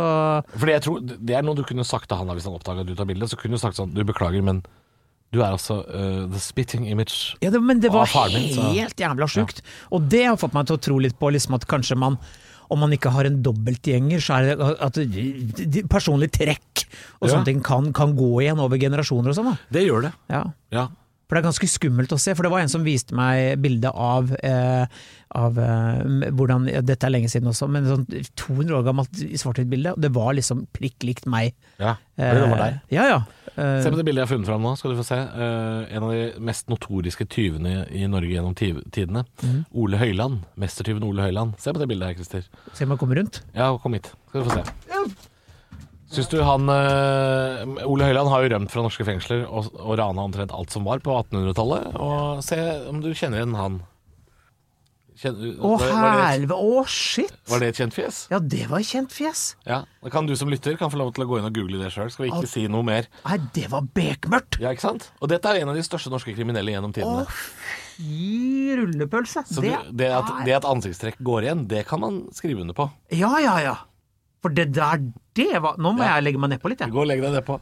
Fordi jeg tror Det er noe du kunne sagt til han da hvis han oppdaga at du tar bilde. Så kunne du sagt sånn Du beklager, men du er altså eh, the spitting image. Ja, det, men det Og var av faren min, så- helt jævla sjukt. Og det har fått meg til å tro litt på liksom at kanskje man om man ikke har en dobbeltgjenger, så er det at de- de- personlig trekk Ja. og sånne ting kan, kan gå igjen over generasjoner og sånn. da. Det gjør det. Ja. Ja. For det er ganske skummelt å se. For det var en som viste meg bilde av, eh, av eh, hvordan ja, Dette er lenge siden også, men sånn 200 år gammelt svart-hvitt bilde. og Det var liksom prikk likt meg. ja. Fordi det var deg. Eh, Ja, ja. Eh, Se på det bildet jeg har funnet fram nå, skal du få se. Eh, en av de mest notoriske tyvene i Norge gjennom ti- tidene. Mhm. Ole Høiland. Mestertyven Ole Høiland. Se på det bildet her, Christer. se om jeg kommer rundt. Ja, kom hit. Skal du få se. Syns du han eh, Ole Høiland har jo rømt fra norske fengsler og, og rana omtrent alt som var på 1800-tallet. Og se om du kjenner igjen han. Kjen- Å, var, var, det, helvete! Å, shit! var det et kjent fjes? Ja, det var kjent fjes! Ja. Da kan du som lytter kan få lov til å gå inn og google det sjøl. Skal vi ikke si noe mer. Nei, det var bekmørkt! Ja, ikke sant? Og dette er en av de største norske kriminelle gjennom Å, tidene. fy rullepølse! Så det, det, at, det at ansiktstrekk går igjen, det kan man skrive under på. Ja, ja, ja. For det der, det var Nå må Ja. jeg legge meg nedpå litt, jeg. Gå og legg deg nedpå.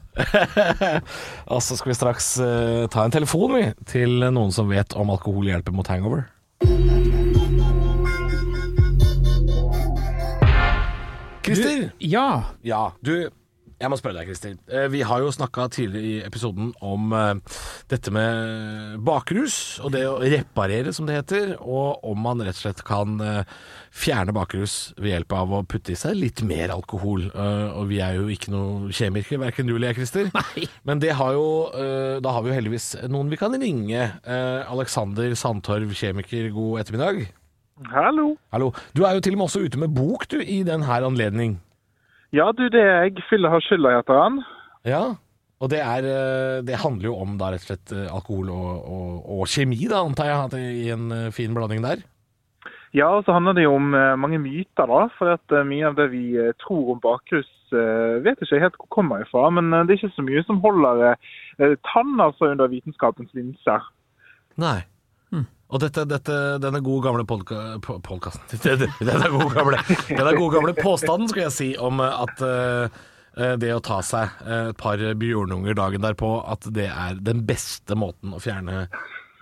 og så skal vi straks eh, ta en telefon vi, til noen som vet om alkohol hjelper mot hangover. Christer! Ja. Ja, du, jeg må spørre deg, Christer. Eh, Vi har jo snakka tidligere i episoden om eh, dette med bakrus, og det å reparere, som det heter, og om man rett og slett kan eh, fjerne bakrus ved hjelp av å putte i seg litt mer alkohol. Eh, Og vi er jo ikke noe kjemikere, verken du eller jeg, Christer. Nei. Men det har jo, eh, da har vi jo heldigvis noen vi kan ringe. Eh, Alexander Sandtorv, kjemiker, god ettermiddag. Hallo. Hallo. Du er jo til og med også ute med bok, du, i den her anledning. Ja, du, det er jeg. Fylle har skylda, heter han. Ja, og det, er, eh, det handler jo om da rett og slett eh, alkohol og, og, og kjemi, da, antar jeg, at det- i en eh, fin blanding der. Ja, og så handler det jo om eh, mange myter, da. For at eh, mye av det vi eh, tror om bakrus, eh, vet ikke helt hvor kommer ifra. Men eh, det er ikke så mye som holder eh, eh, tann altså under vitenskapens linser. Nei. Og dette, dette, denne gode gamle podka, po- podkasten denne, denne, gode gamle, denne gode gamle påstanden, skulle jeg si, om eh, at eh, det å ta seg eh, et par bjørnunger dagen derpå, at det er den beste måten å fjerne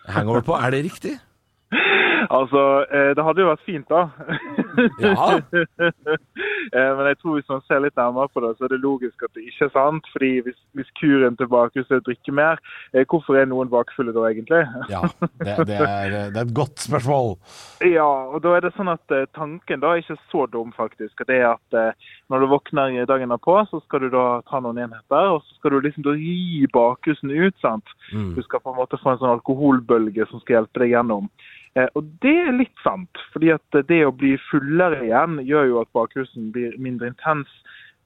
hangover på. Er det riktig? Altså, eh, det hadde jo vært fint, da. Ja. Eh, Men jeg tror hvis man ser litt nærmere på det, så er det logisk at det ikke er sant. Fordi hvis, hvis kuren til bakrus er å drikke mer, eh, hvorfor er noen bakfulle da, egentlig? ja det, det, er, eh, det er et godt spørsmål. Ja, og da er det sånn at eh, tanken da er ikke så dum, faktisk. Og det er at eh, når du våkner i dagen derpå, så skal du da ta noen enheter, og så skal du liksom da ri bakrusen ut, sant. Mm. Du skal på en måte få en sånn alkoholbølge som skal hjelpe deg gjennom. Eh, og det er litt sant, fordi at eh, det å bli fullere igjen gjør jo at bakrusen blir mindre intens.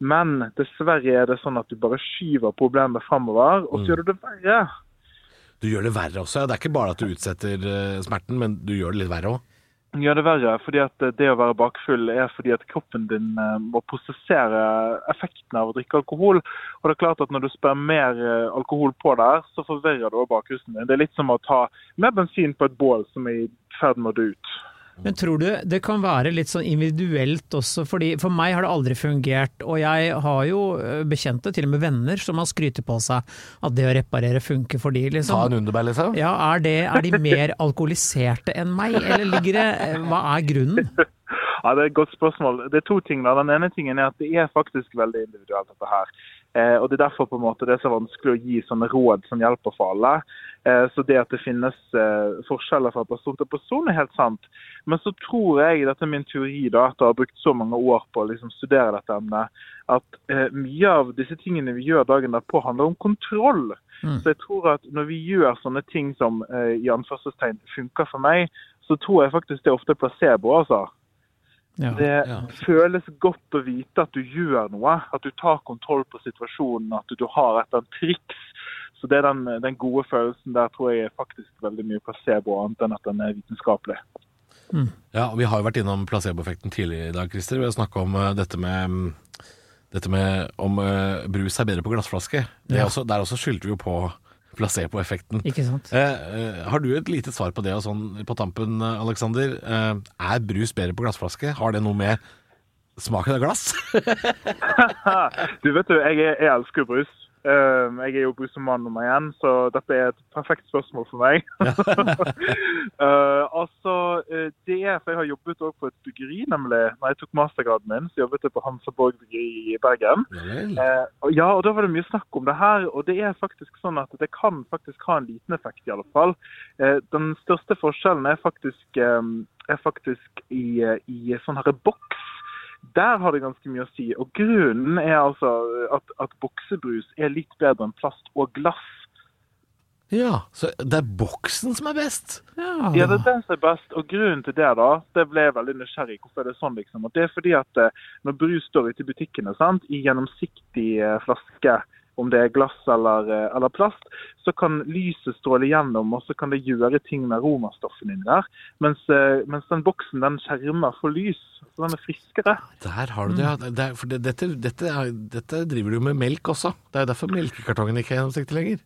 Men dessverre er det sånn at du bare skyver problemet fremover, og så gjør du det verre. Du gjør det verre også. ja. Det er ikke bare at du utsetter eh, smerten, men du gjør det litt verre òg. Ja, det er verre. fordi at eh, det å være bakfull er fordi at kroppen din eh, må prosessere effekten av å drikke alkohol. Og det er klart at Når du spør mer eh, alkohol på der, så forverrer du også bakhusen din. Det er litt som å ta mer bensin på et bål som er i ferd med å dø ut. Men tror du det kan være litt sånn individuelt også, fordi for meg har det aldri fungert, og jeg har jo eh, bekjente, til og med venner, som har skrytet på seg at det å reparere funker for de, Ta liksom. en underbær, liksom. Ja, er, det, er de mer alkoholiserte enn meg, eller ligger det eh, Hva er grunnen? Ja, Det er et godt spørsmål. Det er to ting. da. Den ene tingen er at det er faktisk veldig individuelt, dette her. Eh, og Det er derfor på en måte det er så vanskelig å gi sånne råd som hjelper for alle. Eh, så Det at det finnes eh, forskjeller fra person til person, er helt sant. Men så tror jeg, dette er min teori, da, etter å ha brukt så mange år på å liksom, studere dette emnet, at eh, mye av disse tingene vi gjør dagen derpå, handler om kontroll. Mm. Så jeg tror at når vi gjør sånne ting som eh, i anførselstegn funker for meg, så tror jeg faktisk det er ofte placebo, altså. Ja. Det Ja. føles godt å vite at du gjør noe, at du tar kontroll på situasjonen, at du, du har et eller annet triks. Så det er den, den gode følelsen der tror jeg er faktisk veldig mye placebo, annet enn at den er vitenskapelig. Ja, og Vi har jo vært innom placeboeffekten tidligere i dag, Christer. Vi har snakka om eh, dette med mm, dette med om eh, brus er bedre på glassflaske. Det er Ja. også, der også skyldte vi jo på placeboeffekten. Ikke sant? Eh, eh, har du et lite svar på det og sånn på tampen, eh, Alexander? Eh, er brus bedre på glassflaske? Har det noe med smaken av glass? Du vet jo, jeg, er- jeg elsker jo brus. Ehm, Jeg er jo brusemann nummer én, så dette er et perfekt spørsmål for meg. Eh, altså, eh, det er, for Jeg har jobbet også på et byggeri, nemlig. Når jeg tok mastergraden min, så jobbet jeg på Hansa Borg byggeri i Bergen. Ja vel. Eh, og ja, og da var det mye snakk om det her, og det er faktisk sånn at det kan faktisk ha en liten effekt, i alle fall. Eh, den største forskjellen er faktisk, eh, er faktisk i, eh, i sånn her boks. Der har det ganske mye å si. Og grunnen er altså at, at boksebrus er litt bedre enn plast og glass. Ja, så det er boksen som er best? Ja, det er den som er best. Og grunnen til det, da, det ble jeg veldig nysgjerrig. Hvorfor er det sånn, liksom? Og det er fordi at eh, når brus står ute i butikkene, sant, i gjennomsiktig eh, flaske om det er glass eller, eh, eller plast, så kan lyset stråle gjennom, og så kan det gjøre ting med aromastoffene inni der. Mens, eh, mens den boksen den skjermer for lys, så den er friskere. Der har du det, ja. Mm. Det er, for det, dette, dette, er- dette driver du med melk også. Det er jo derfor melkekartongen ikke er gjennomsiktig lenger.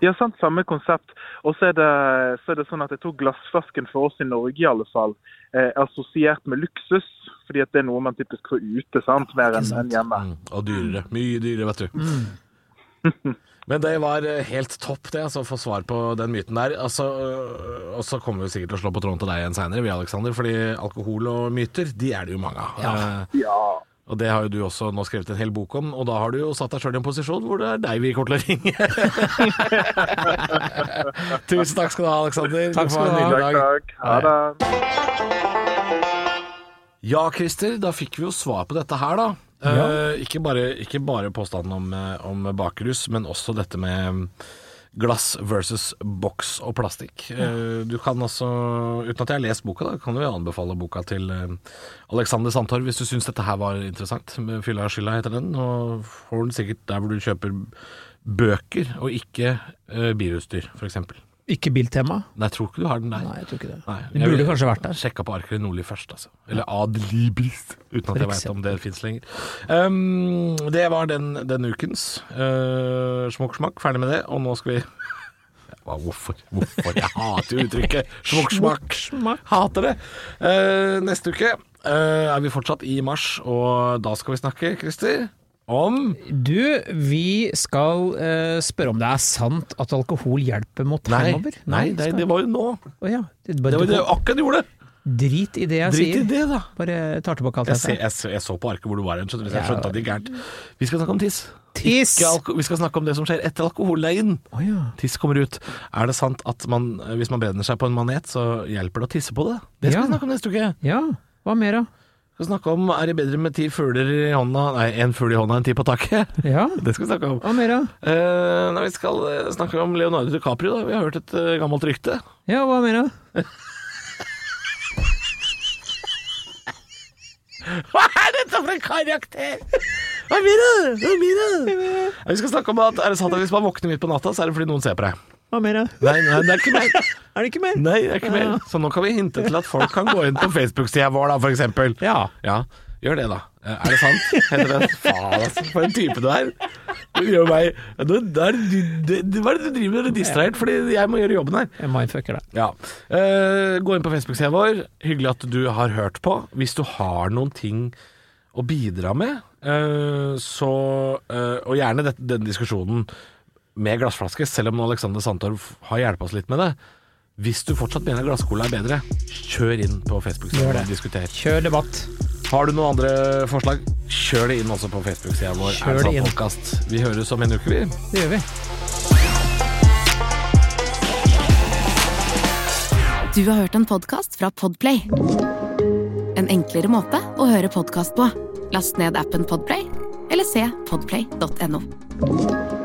Ja, sant, samme konsept. Og så er, det- så er det sånn at jeg tror glassflasken for oss i Norge i alle fall eh, er assosiert med luksus, fordi at det er noe man typisk får ute, sant, mer enn enn hjemme. Mm, og dyrere. Mye dyrere, vet du. Mm. Men det var eh, helt topp, det, altså, å få svar på den myten der. Altså, øh, og så kommer vi sikkert til å slå på tråden til deg igjen seinere, vi, Aleksander. Fordi alkohol og myter, de er det jo mange av. Eh, Ja. Og det har jo du også nå skrevet en hel bok om, og da har du jo satt deg sjøl i en posisjon hvor det er deg vi kommer til å ringe. Tusen takk skal du ha, Aleksander. Takk skal du ha. Takk, takk. Ha det. Ja, Christer, da fikk vi jo svar på dette her, da. Ja. Eh, ikke, bare, ikke bare påstanden om, eh, om bakrus, men også dette med eh, glass versus boks og plastikk. Eh, du kan altså, uten at jeg har lest boka, da, kan du jo anbefale boka til eh, Alexander Sandtorv hvis du syns dette her var interessant. Med 'Fylla og skylda' heter den, og får den sikkert der hvor du kjøper bøker og ikke uh, bilutstyr, f.eks. Nei, Ikke biltema? jeg tror ikke du har den der. Nei, jeg tror ikke det. Nei, Det burde kanskje vært der. Sjekka på Arker Nordli først, altså. Eller Ad Libris, uten at jeg veit eksempel. om det fins lenger. Um, det var den, den ukens. Uh, smokk smakk, ferdig med det. Og nå skal vi Hva, Hvorfor? Hvorfor? Jeg hater jo uttrykket smokk smakk. Smakk. Hater det. Eh, neste uke eh, er vi fortsatt i mars, og da skal vi snakke, Christer, om Du, vi skal eh, spørre om det er sant at alkohol hjelper mot hangover. nei, nei skal- det var jo nå. Å ja. Det, Det bare, var jo det jeg akkurat gjorde. Drit i det jeg Drit i sier. det, da. Bare tar tilbake alt Jeg, jeg ser, sa. jeg, så- jeg så på arket hvor du var hen, skjønner du, så jeg Ja. skjønte at det gikk gærent. Vi skal snakke om tiss. Tiss! Ikke alko vi skal snakke om det som skjer etter alkoholleien. Å ja. Tiss kommer ut. Er det sant at man, hvis man brenner seg på en manet, så hjelper det å tisse på det? Det skal Ja. vi snakke om neste uke. ja. Hva mer, da? Vi skal snakke om er det bedre med ti fugler i hånda Nei, én fugl i hånda enn ti på taket. Ja. Det skal vi snakke om. Hva mer, da? Eh, nei, vi skal eh, snakke om Leonardo DiCaprio, da. Vi har hørt et eh, gammelt rykte. Ja, hva mer, da? Hva er dette for en karakter? Hva er mine? Hva er mine? Vi skal snakke om at er det sant at hvis man våkner midt på natta, så er det fordi noen ser på deg. Hva mer, da? Nei, nei det er ikke mer. Er det ikke mer? Nei, det er ikke mer. Så nå kan vi hinte til at folk kan gå inn på Facebook-sida vår, da, for eksempel. Ja. Ja, gjør det, da. Eh, Er det sant? Heter det Faen, altså, for en type du er. Du gjør meg Nå er du- du- du- Hva er det du driver med? Du er distrahert fordi jeg må gjøre jobben her. Jeg mindfucker deg. Ja. Eh, gå inn på Facebook-sida vår. Hyggelig at du har hørt på. Hvis du har noen ting å bidra med, eh, så eh, Og gjerne dette, denne diskusjonen med glassflaske, selv om Alexander Sandtorv har hjulpet oss litt med det. Hvis du fortsatt mener glasscola er bedre, kjør inn på Facebook-sida vår Gjør det. og diskuter. Kjør debatt. Har du noen andre forslag, kjør det inn også på Facebook-sida vår. Kjør Er det det inn. sant podcast? Vi høres om en uke, vi. Det gjør vi. Du har hørt en podcast fra Podplay En enklere måte å høre podcast på Last ned appen Podplay Eller se podplay.no